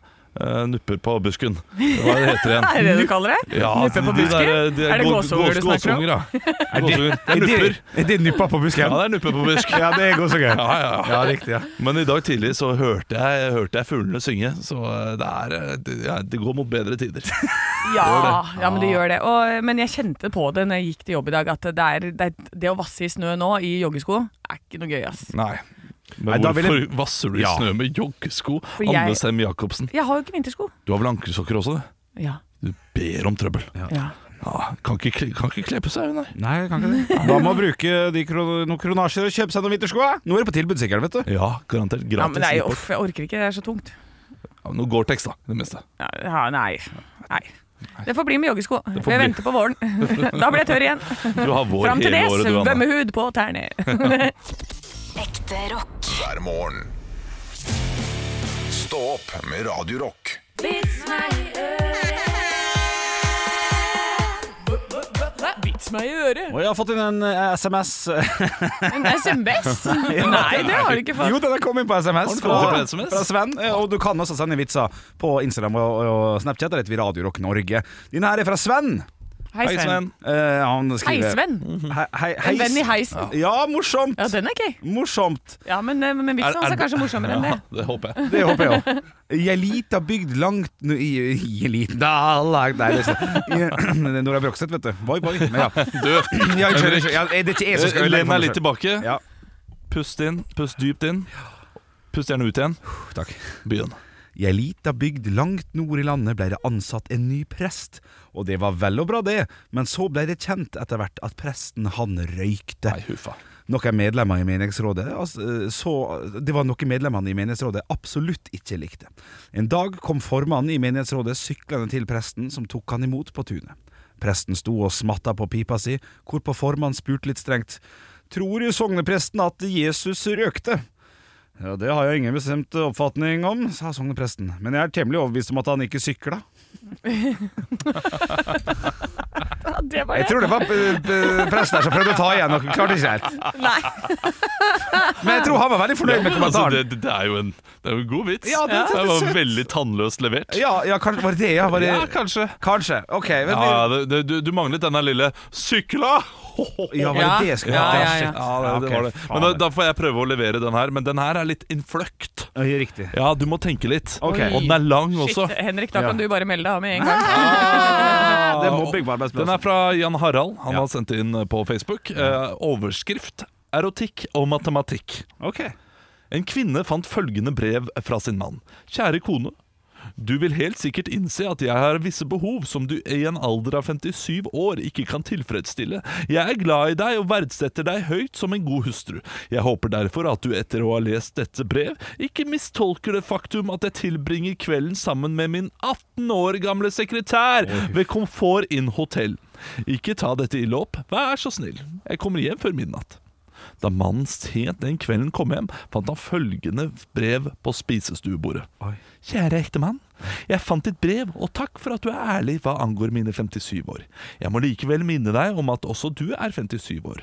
Speaker 4: Nupper på busken. Hva er det heter igjen?
Speaker 5: Er det det du kaller det?
Speaker 4: Ja,
Speaker 5: Nupper på
Speaker 4: de
Speaker 5: busken?
Speaker 4: der, eh, de
Speaker 5: Er det
Speaker 4: gå-
Speaker 5: gåseunger du
Speaker 4: gås-
Speaker 5: snakker om?
Speaker 4: gåseunger, ja.
Speaker 2: Er det-
Speaker 4: Gåseunger. Det er
Speaker 2: er det-
Speaker 4: nupper.
Speaker 2: Er det nuppa på
Speaker 4: Ja,
Speaker 2: busken?
Speaker 4: det er nupper på busk.
Speaker 2: Ja, det er gåsehud.
Speaker 4: Ja, ja, ja.
Speaker 2: Ja, riktig. Ja.
Speaker 4: Men i dag tidlig så hørte jeg, hørte jeg fuglene synge, så eh, det er eh, det, ja, det går mot bedre tider.
Speaker 5: Ja, ja, men det gjør det. Og, men jeg kjente på det når jeg gikk til jobb i dag, at det, er, det, er- det å vasse i snø nå i joggesko er ikke noe gøy, ass.
Speaker 4: Nei.
Speaker 2: Nei,
Speaker 4: Men
Speaker 2: da vil
Speaker 4: hvorfor
Speaker 2: jeg-
Speaker 4: vasser du i
Speaker 2: Ja.
Speaker 4: snø med joggesko?
Speaker 5: For jeg-
Speaker 4: Anne Sem Jacobsen.
Speaker 5: Jeg har jo ikke vintersko.
Speaker 4: Du har vel ankelsokker også?
Speaker 5: Ja.
Speaker 4: Du ber om trøbbel.
Speaker 5: ja.
Speaker 4: Ja, kan, ikke, kle- kan ikke kle på seg, hun der.
Speaker 2: Nei, jeg kan ikke det. Da må man bruke de kron noen kronasjer og kjøpe seg noen vintersko. ja. Nå er det på tilbud, sikkert, vet du.
Speaker 4: Ja, garantert. Gratis.
Speaker 5: Ja, men nei,
Speaker 4: import.
Speaker 5: uff, jeg orker ikke, det er så tungt.
Speaker 4: Ja, men Noe Gore-Tex, da. Det meste.
Speaker 5: Ja, Ja, nei. nei. Det får bli med joggesko.
Speaker 4: får
Speaker 5: for
Speaker 4: bli.
Speaker 5: Jeg venter på våren. da blir jeg tørr igjen.
Speaker 4: Du har vår
Speaker 5: Mm. Fram til
Speaker 4: hele
Speaker 5: det,
Speaker 4: året, du, Anne.
Speaker 5: svømmehud på tærne.
Speaker 6: Ekte rock.
Speaker 1: hver morgen. Stå opp med Radio Rock.
Speaker 5: Vits meg i øret.
Speaker 2: Og jeg har fått inn en eh, SMS.
Speaker 5: En SMS? Nei, det har du ikke fått.
Speaker 2: Jo, den er kommet inn på SMS.
Speaker 4: den kommet
Speaker 2: fra-
Speaker 4: inn på SMS?
Speaker 2: Fra Sven. Eh, Og du kan også sende vitser på Instagram og, og Snapchat. Det heter vi Radio Rock Norge. Din her er fra Sven.
Speaker 5: Hei, Sven. Mm.
Speaker 2: Eh, han
Speaker 5: Hei,
Speaker 2: skriver
Speaker 5: Sven.
Speaker 2: Hei, hei,
Speaker 5: En
Speaker 2: heis.
Speaker 5: venn i heisen.
Speaker 2: Ja, morsomt.
Speaker 5: Ja, den er gøy.
Speaker 2: Morsomt.
Speaker 5: Ja, men, eh, men vitsen hans er kanskje morsommere enn det.
Speaker 4: Ja, det håper jeg.
Speaker 2: Det håper jeg òg. I ei lita bygd langt nu- I, i ei lita langt Nei, det er Nora Brogstad, vet du. Voi, voi. Men ja.
Speaker 4: Du,
Speaker 2: Ja, unnskyld, unnskyld. Ja, det er ikke jeg som skal ødelegge
Speaker 4: Len
Speaker 2: for
Speaker 4: deg
Speaker 2: meg
Speaker 4: litt
Speaker 2: selv.
Speaker 4: tilbake.
Speaker 2: Ja,
Speaker 4: Pust inn. Pust dypt inn. Pust gjerne ut igjen.
Speaker 2: takk.
Speaker 4: Begynn.
Speaker 2: I ei lita bygd langt nord i landet blei det ansatt en ny prest. Og det var vel og bra, det, men så blei det kjent etter hvert at presten, han røykte.
Speaker 4: Nei, huffa.
Speaker 2: Noen medlemmer i menighetsrådet altså, så, Det var noe medlemmene i menighetsrådet absolutt ikke likte. En dag kom formannen i menighetsrådet syklende til presten, som tok han imot på tunet. Presten sto og smatta på pipa si, hvorpå formannen spurte litt strengt Tror jo sognepresten at Jesus røkte? Ja, Det har jeg ingen bestemt oppfatning om, sa sognepresten, men jeg er temmelig overbevist om at han ikke sykla.
Speaker 5: Ja, det var
Speaker 2: Jeg
Speaker 5: det.
Speaker 2: tror det var eh, eh, presten her som prøvde å ta igjen noe, klarte ikke helt.
Speaker 5: Nei.
Speaker 2: Men jeg tror han var veldig fornøyd med
Speaker 4: Altså,
Speaker 2: kommentaren.
Speaker 4: det, det, er jo en, det er jo en god vits.
Speaker 2: Ja, det- det- det er
Speaker 4: var
Speaker 2: søtt.
Speaker 4: veldig tannløst levert.
Speaker 2: Ja, ja, kanskje, var det det? Ja, var det,
Speaker 4: Ja, kanskje.
Speaker 2: Kanskje. Ok. Men,
Speaker 4: Ja,
Speaker 2: ja,
Speaker 4: det, det, du, du manglet denne lille 'sykla'!
Speaker 2: var det
Speaker 5: Ja,
Speaker 2: det jeg skulle
Speaker 5: ja,
Speaker 2: hete?
Speaker 5: ja, ja.
Speaker 2: Shit.
Speaker 4: Ja, det, det
Speaker 2: ok,
Speaker 4: var det.
Speaker 2: faen.
Speaker 4: Men da, da får jeg prøve å levere den her. Men den her er litt innfløkt.
Speaker 2: Ja, ja, Riktig.
Speaker 4: Ja, du må tenke litt.
Speaker 2: Ok.
Speaker 4: Og den er lang også.
Speaker 5: Shit, Henrik, da kan du bare melde deg av med en gang.
Speaker 2: Ja, det er mobbing på arbeidsplassen.
Speaker 4: Den er fra Jan Harald. Han
Speaker 2: Ja.
Speaker 4: har sendt inn på Facebook. Eh, overskrift erotikk og matematikk.
Speaker 2: Ok.
Speaker 4: En kvinne fant følgende brev fra sin mann. Kjære kone. Du vil helt sikkert innse at jeg har visse behov som du i en alder av 57 år ikke kan tilfredsstille. Jeg er glad i deg og verdsetter deg høyt som en god hustru. Jeg håper derfor at du etter å ha lest dette brev, ikke mistolker det faktum at jeg tilbringer kvelden sammen med min 18 år gamle sekretær ved Comfort Inn Hotel. Ikke ta dette ille opp, vær så snill. Jeg kommer hjem før midnatt. Da mannen sent den kvelden kom hjem, fant han følgende brev på spisestuebordet. Kjære ektemann. Jeg fant ditt brev, og takk for at du er ærlig hva angår mine 57 år. Jeg må likevel minne deg om at også du er 57 år.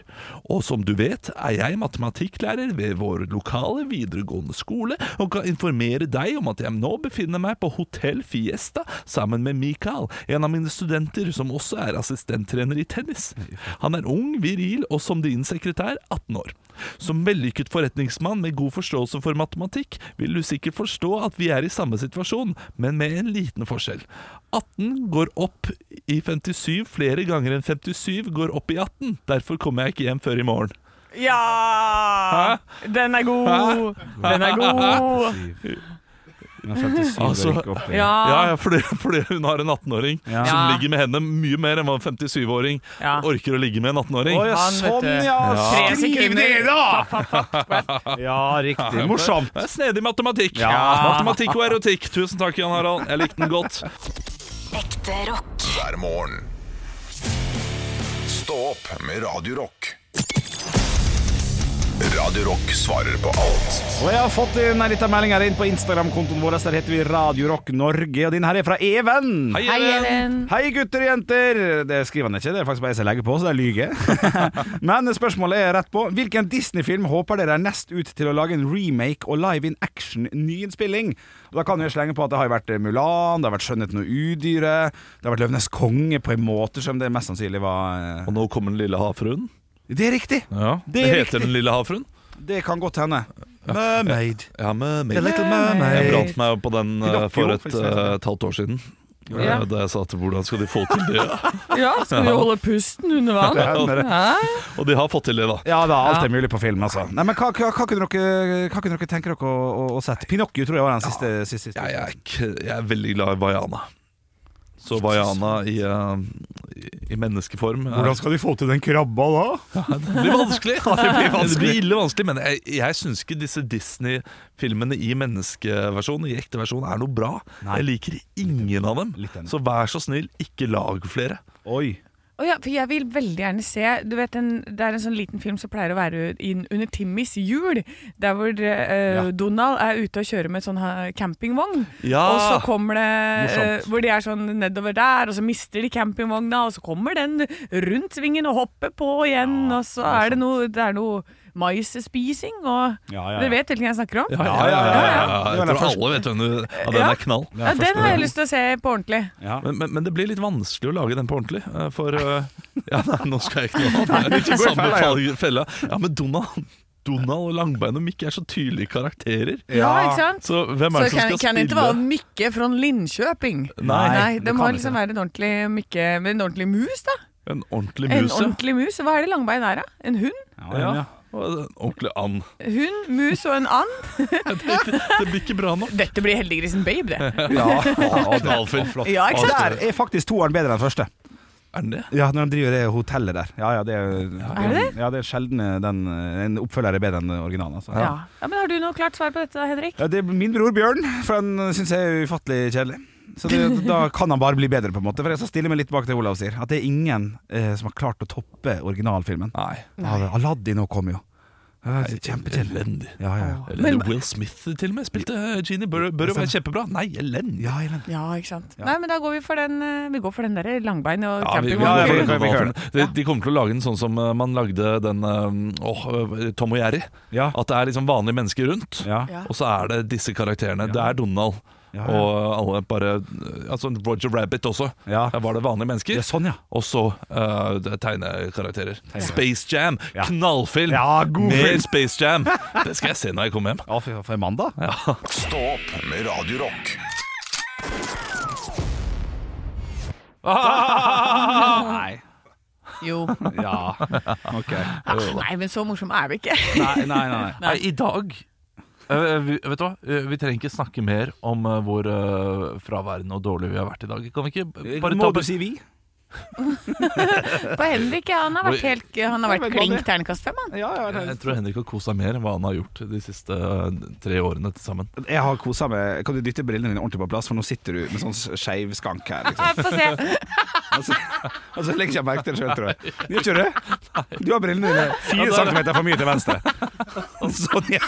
Speaker 4: Og som du vet, er jeg matematikklærer ved vår lokale videregående skole, og kan informere deg om at jeg nå befinner meg på Hotell Fiesta sammen med Mikael, en av mine studenter som også er assistenttrener i tennis. Han er ung, viril og som din sekretær 18 år. Som vellykket forretningsmann med god forståelse for matematikk, vil du sikkert forstå at vi er i samme situasjon, men med en liten forskjell. 18 går opp i 57 flere ganger enn 57 går opp i 18. Derfor kommer jeg ikke hjem før i morgen.
Speaker 5: Ja! Den er god! Den er god!
Speaker 2: Den er 57
Speaker 4: Altså-
Speaker 2: og gikk opp i-
Speaker 4: Ja,
Speaker 5: Ja.
Speaker 4: ja, fordi, fordi hun har en 18-åring
Speaker 2: Ah. Ja.
Speaker 4: som
Speaker 5: Ja.
Speaker 4: ligger med henne mye mer enn hva en 57-åring
Speaker 5: Ja.
Speaker 4: orker å ligge med en 18-åring.
Speaker 2: Å ja,
Speaker 5: Han, vet
Speaker 2: sånn
Speaker 5: du.
Speaker 2: ja!
Speaker 5: Tre
Speaker 2: Skriv
Speaker 5: sekunder.
Speaker 2: ned, da! Ja, riktig. Morsomt.
Speaker 4: Det er snedig matematikk.
Speaker 2: Ja.
Speaker 4: Matematikk og erotikk. Tusen takk, Jan Harald. Jeg likte den godt.
Speaker 6: Ekte rock.
Speaker 1: hver morgen. Stå opp med Radio Rock. Radio Rock svarer på alt
Speaker 2: Og jeg har fått inn en liten melding her inn på Instagram-kontoen vår. Der heter vi Radio Rock Norge, og din her er fra Even.
Speaker 4: Hei,
Speaker 5: Hei,
Speaker 4: Even.
Speaker 5: Even.
Speaker 2: Hei gutter og jenter! Det skriver han ikke, det er faktisk bare jeg som legger på, så det er lyge. Men spørsmålet er rett på. Hvilken Disney-film håper dere er nest ut til å lage en remake og live in action-nyinnspilling? Og Da kan jeg slenge på at det har jo vært Mulan, det har vært Skjønnheten og udyret, det har vært Løvenes konge på en måte som det mest sannsynlig var eh,
Speaker 4: Og nå kommer den lille havfruen.
Speaker 2: Det er riktig!
Speaker 4: Ja.
Speaker 2: Det er
Speaker 4: Heter
Speaker 2: riktig.
Speaker 4: den lille havfruen?
Speaker 2: Det kan godt hende. Mermaid.
Speaker 4: Ja, med
Speaker 2: The Little Mermaid.
Speaker 4: Jeg brant meg på den
Speaker 2: I
Speaker 4: eh,
Speaker 2: Lockjo,
Speaker 4: for et,
Speaker 2: faktisk, det sånn. heter.
Speaker 4: eh, et halvt år siden.
Speaker 5: Ja.
Speaker 4: Eh, Da jeg sa at hvordan skal de få til det?
Speaker 5: Ja, skal vi holde pusten under vann?
Speaker 2: Ja, men-
Speaker 5: Hæ?
Speaker 4: Og de har fått til det, da.
Speaker 2: Ja da, alt er mulig på film, altså. Nei, men hva, hva, hva, kunne, dere, hva kunne dere tenke dere å, å, å sette? Pinocchio tror jeg var den siste. siste, siste.
Speaker 4: Jeg er, ikke- jeg er veldig glad i Vaiana. Så var Jana i, eh, i- i menneskeform. eh,
Speaker 2: Hvordan skal de få til den krabba da?
Speaker 4: Det blir vanskelig.
Speaker 2: det blir vanskelig.
Speaker 4: Det blir ille vanskelig, men jeg, jeg syns ikke disse Disney-filmene i menneskeversjon i ekte versjon er noe bra.
Speaker 2: Nei.
Speaker 4: Jeg liker ingen av dem.
Speaker 2: Litt enig.
Speaker 4: Så vær så snill, ikke lag flere.
Speaker 2: Oi.
Speaker 5: Å ja, for jeg vil veldig gjerne se Du vet, en, Det er en sånn liten film som pleier å være inn under Timmys jul. Der hvor eh,
Speaker 2: Ja.
Speaker 5: Donald er ute og kjører med en sånn eh, campingvogn.
Speaker 4: Ja.
Speaker 5: Og så kommer det eh,
Speaker 2: Morsomt.
Speaker 5: Hvor de er sånn nedover der, og så mister de campingvogna, og så kommer den rundt svingen og hopper på igjen, og så er det noe, det er noe maisspising og
Speaker 2: Ja, ja, ja.
Speaker 5: Dere vet hvilken jeg snakker om?
Speaker 2: ja, ja, ja, ja.
Speaker 4: Jeg tror alle vet hvem du ja, Den
Speaker 5: Ja.
Speaker 4: er knall.
Speaker 5: Ja, den har jeg lyst til å se på ordentlig.
Speaker 2: Ja.
Speaker 4: Men, men, men det blir litt vanskelig å lage den på ordentlig. eh, For eh, Ja, nei, nå skal jeg ikke noe annet. Nei, Samme fall- fella. Ja, men Donald, Donald og Langbein og Mikke er så tydelige karakterer.
Speaker 5: Ja, ikke sant?
Speaker 4: Så hvem er
Speaker 5: Så
Speaker 4: det som
Speaker 5: kan,
Speaker 4: skal
Speaker 5: kan det ikke
Speaker 4: spille?
Speaker 5: være Mikke fra Linköping.
Speaker 4: Nei,
Speaker 5: det må liksom være en ordentlig Mikke med en ordentlig mus, da.
Speaker 4: En ordentlig
Speaker 5: En
Speaker 4: mus, ja.
Speaker 5: ordentlig mus. Hva er det langbein er, da? En hund?
Speaker 2: ja.
Speaker 4: Ja. og en Ordentlig and.
Speaker 5: Hund, mus og en and?
Speaker 4: Det blir ikke bra nok.
Speaker 5: Dette blir Heldiggrisen Babe, det.
Speaker 4: Knallfilm.
Speaker 5: Ja, ikke sant?
Speaker 2: Der er faktisk toeren bedre enn første.
Speaker 4: Er den det?
Speaker 2: Ja, når de driver det hotellet der. Ja, ja, det er,
Speaker 5: Er det
Speaker 2: Ja, det er sjelden eh, den, en oppfølger er bedre enn originalen. Altså.
Speaker 5: Ja. ja, men Har du noe klart svar på dette, da, Henrik?
Speaker 2: Ja, det er min bror Bjørn, for han syns jeg er ufattelig kjedelig. Så det, Da kan han bare bli bedre, på en måte. For jeg skal stille meg litt bak det Olav sier. At det er ingen eh, som har klart å toppe originalfilmen.
Speaker 4: Nei.
Speaker 2: Ja, Aladdin nå kom jo. Ja, det er Kjempekjedelig.
Speaker 4: Elendig.
Speaker 2: Ja, ja, ja.
Speaker 4: Eller Will Smith til og med spilte Genie. Bør, bør jo være kjempebra. Nei, elendig.
Speaker 2: Ja, Ellen.
Speaker 5: Ja, ikke sant. Nei, men da går vi for den eh, Vi går for den derre langbein og
Speaker 4: Ja, vi- vi-
Speaker 5: campingvogn.
Speaker 2: ja,
Speaker 4: vi-
Speaker 2: ja, ja.
Speaker 4: vi- vi- vi- de, de kommer til å lage den sånn som eh, man lagde den eh, åh, Tom og Jerry.
Speaker 2: Ja.
Speaker 4: At det er liksom vanlige mennesker rundt,
Speaker 2: Ja.
Speaker 5: Ja.
Speaker 4: og så er det disse karakterene. Det er Donald
Speaker 2: Ja, ja.
Speaker 4: og alle bare eh, Altså Roger Rabbit også.
Speaker 2: Ja.
Speaker 4: Der var det vanlige mennesker.
Speaker 2: Ja, sånn, ja.
Speaker 4: Og så eh, det er tegnekarakterer. Space Jam!
Speaker 2: Ja.
Speaker 4: Knallfilm!
Speaker 2: Ja, god
Speaker 4: Mer
Speaker 2: film.
Speaker 4: Space Jam! Det skal jeg se når jeg kommer hjem.
Speaker 2: Ja, for, for mandag?
Speaker 1: Stå opp med Radio Rock.
Speaker 2: Nei.
Speaker 5: Jo.
Speaker 2: Ja, ok.
Speaker 5: Nei, men så morsom er vi ikke.
Speaker 2: Nei, nei, nei.
Speaker 4: Nei, i dag eh, vi, Vet du hva? Eh, Vi trenger ikke snakke mer om eh, hvor eh, fraværende og dårlige vi har vært i dag. Kan vi ikke b- bare ta
Speaker 2: Må du si vi?
Speaker 5: På Henrik, ja, han har vært, helt, han har
Speaker 2: Ja,
Speaker 5: vært
Speaker 2: men hva
Speaker 5: klink
Speaker 2: det?
Speaker 5: terningkast fem, han.
Speaker 2: Ja, ja,
Speaker 4: Jeg tror Henrik har kosa mer enn hva han har gjort de siste eh, tre årene til sammen.
Speaker 2: Eh, Jeg har kosa meg. Kan du dytte brillene dine ordentlig på plass, for nå sitter du med sånn skeiv skank her. Liksom.
Speaker 5: Ja, Få se.
Speaker 2: Og så altså, legger jeg merke til det sjøl, tror jeg. Gjør ikke du det? Du har brillene dine fire centimeter for mye til venstre. Sånn, ja.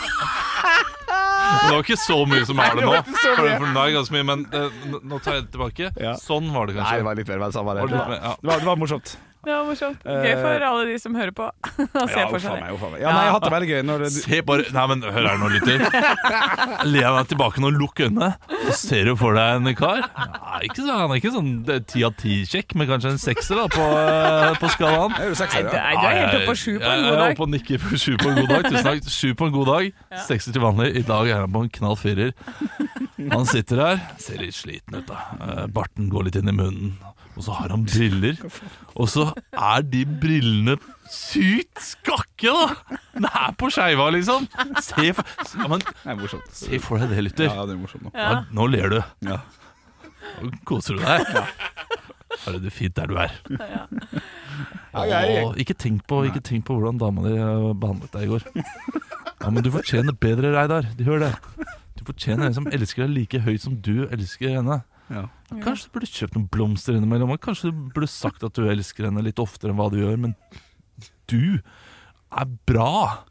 Speaker 4: Men det var ikke så mye som er det nå.
Speaker 2: Nei, det var ikke så
Speaker 4: For,
Speaker 2: mye.
Speaker 4: for nå er det ganske mye, men eh, n- nå tar jeg det tilbake.
Speaker 2: Ja.
Speaker 4: Sånn var det
Speaker 2: Nei, det
Speaker 4: kanskje.
Speaker 2: var litt mer vel samme. Det.
Speaker 4: Var det litt mer, ja.
Speaker 2: Det, var, det var morsomt.
Speaker 5: Det var morsomt. Gøy for alle de som hører på. Og
Speaker 2: Ja,
Speaker 5: ser
Speaker 2: uff
Speaker 5: for
Speaker 2: a
Speaker 5: seg
Speaker 2: meg.
Speaker 5: det.
Speaker 2: uff a meg. Ja, nei, jeg har hatt det veldig gøy. Når du,
Speaker 4: Se bare Nei, men hør her nå, lytter. Len deg tilbake nå, lukk øynene. Så ser du for deg en kar. Nei, ikke så, han er ikke sånn ti av ti-kjekk, men kanskje en sekser da, på, eh, på skalaen.
Speaker 2: er du sekser, ja?
Speaker 5: Nei, du er helt oppe på sju på en god
Speaker 4: Jeg er
Speaker 5: dag.
Speaker 4: oppe og nikker på sju på en god dag. Tusen takk. Sju på en god dag. Sekser til vanlig. I dag er han på en knall firer. Han sitter her, ser litt sliten ut, da. Eh, Barten går litt inn i munnen. Og så har han briller. Og så er de brillene sykt skakke, da! Den er på skeiva, liksom. Se for, ja, men,
Speaker 2: Det er morsomt.
Speaker 4: se for deg det, lytter.
Speaker 2: Ja, det er morsomt nå.
Speaker 4: Ja, nå ler du.
Speaker 2: Ja.
Speaker 4: Nå koser du deg. Har du det fint der du er. Åh, ikke, tenk på, ikke tenk på hvordan dama di eh, behandlet deg i går. Ja, Men du fortjener bedre, Reidar. De hører det. Du fortjener en som elsker deg like høyt som du elsker henne.
Speaker 2: Ja.
Speaker 4: Ja, Kanskje du burde kjøpt noen blomster innimellom. og Kanskje du burde sagt at du elsker henne litt oftere enn hva du gjør, men du er bra.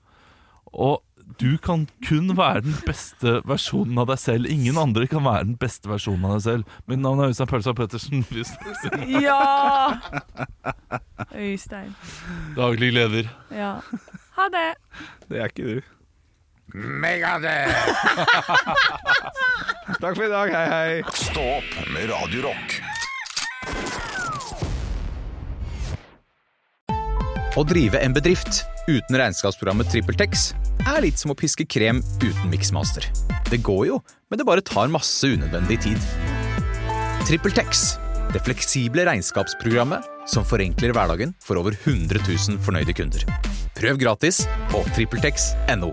Speaker 4: Og du kan kun være den beste versjonen av deg selv. Ingen andre kan være den beste versjonen av deg selv. Mitt navn er Øystein Pølsa Pettersen. Vi snakkes igjen.
Speaker 5: Ja! Øystein.
Speaker 4: Daglig leder.
Speaker 5: Ja. Ha det.
Speaker 2: Det er ikke du.
Speaker 1: Megadeth!
Speaker 2: Takk for i dag. Hei, hei.
Speaker 1: Stå opp med Radio Rock.
Speaker 11: Å drive en bedrift uten regnskapsprogrammet TrippelTex er litt som å piske krem uten miksmaster. Det går jo, men det bare tar masse unødvendig tid. TrippelTex det fleksible regnskapsprogrammet som forenkler hverdagen for over 100 000 fornøyde kunder. Prøv gratis på TrippelTex.no.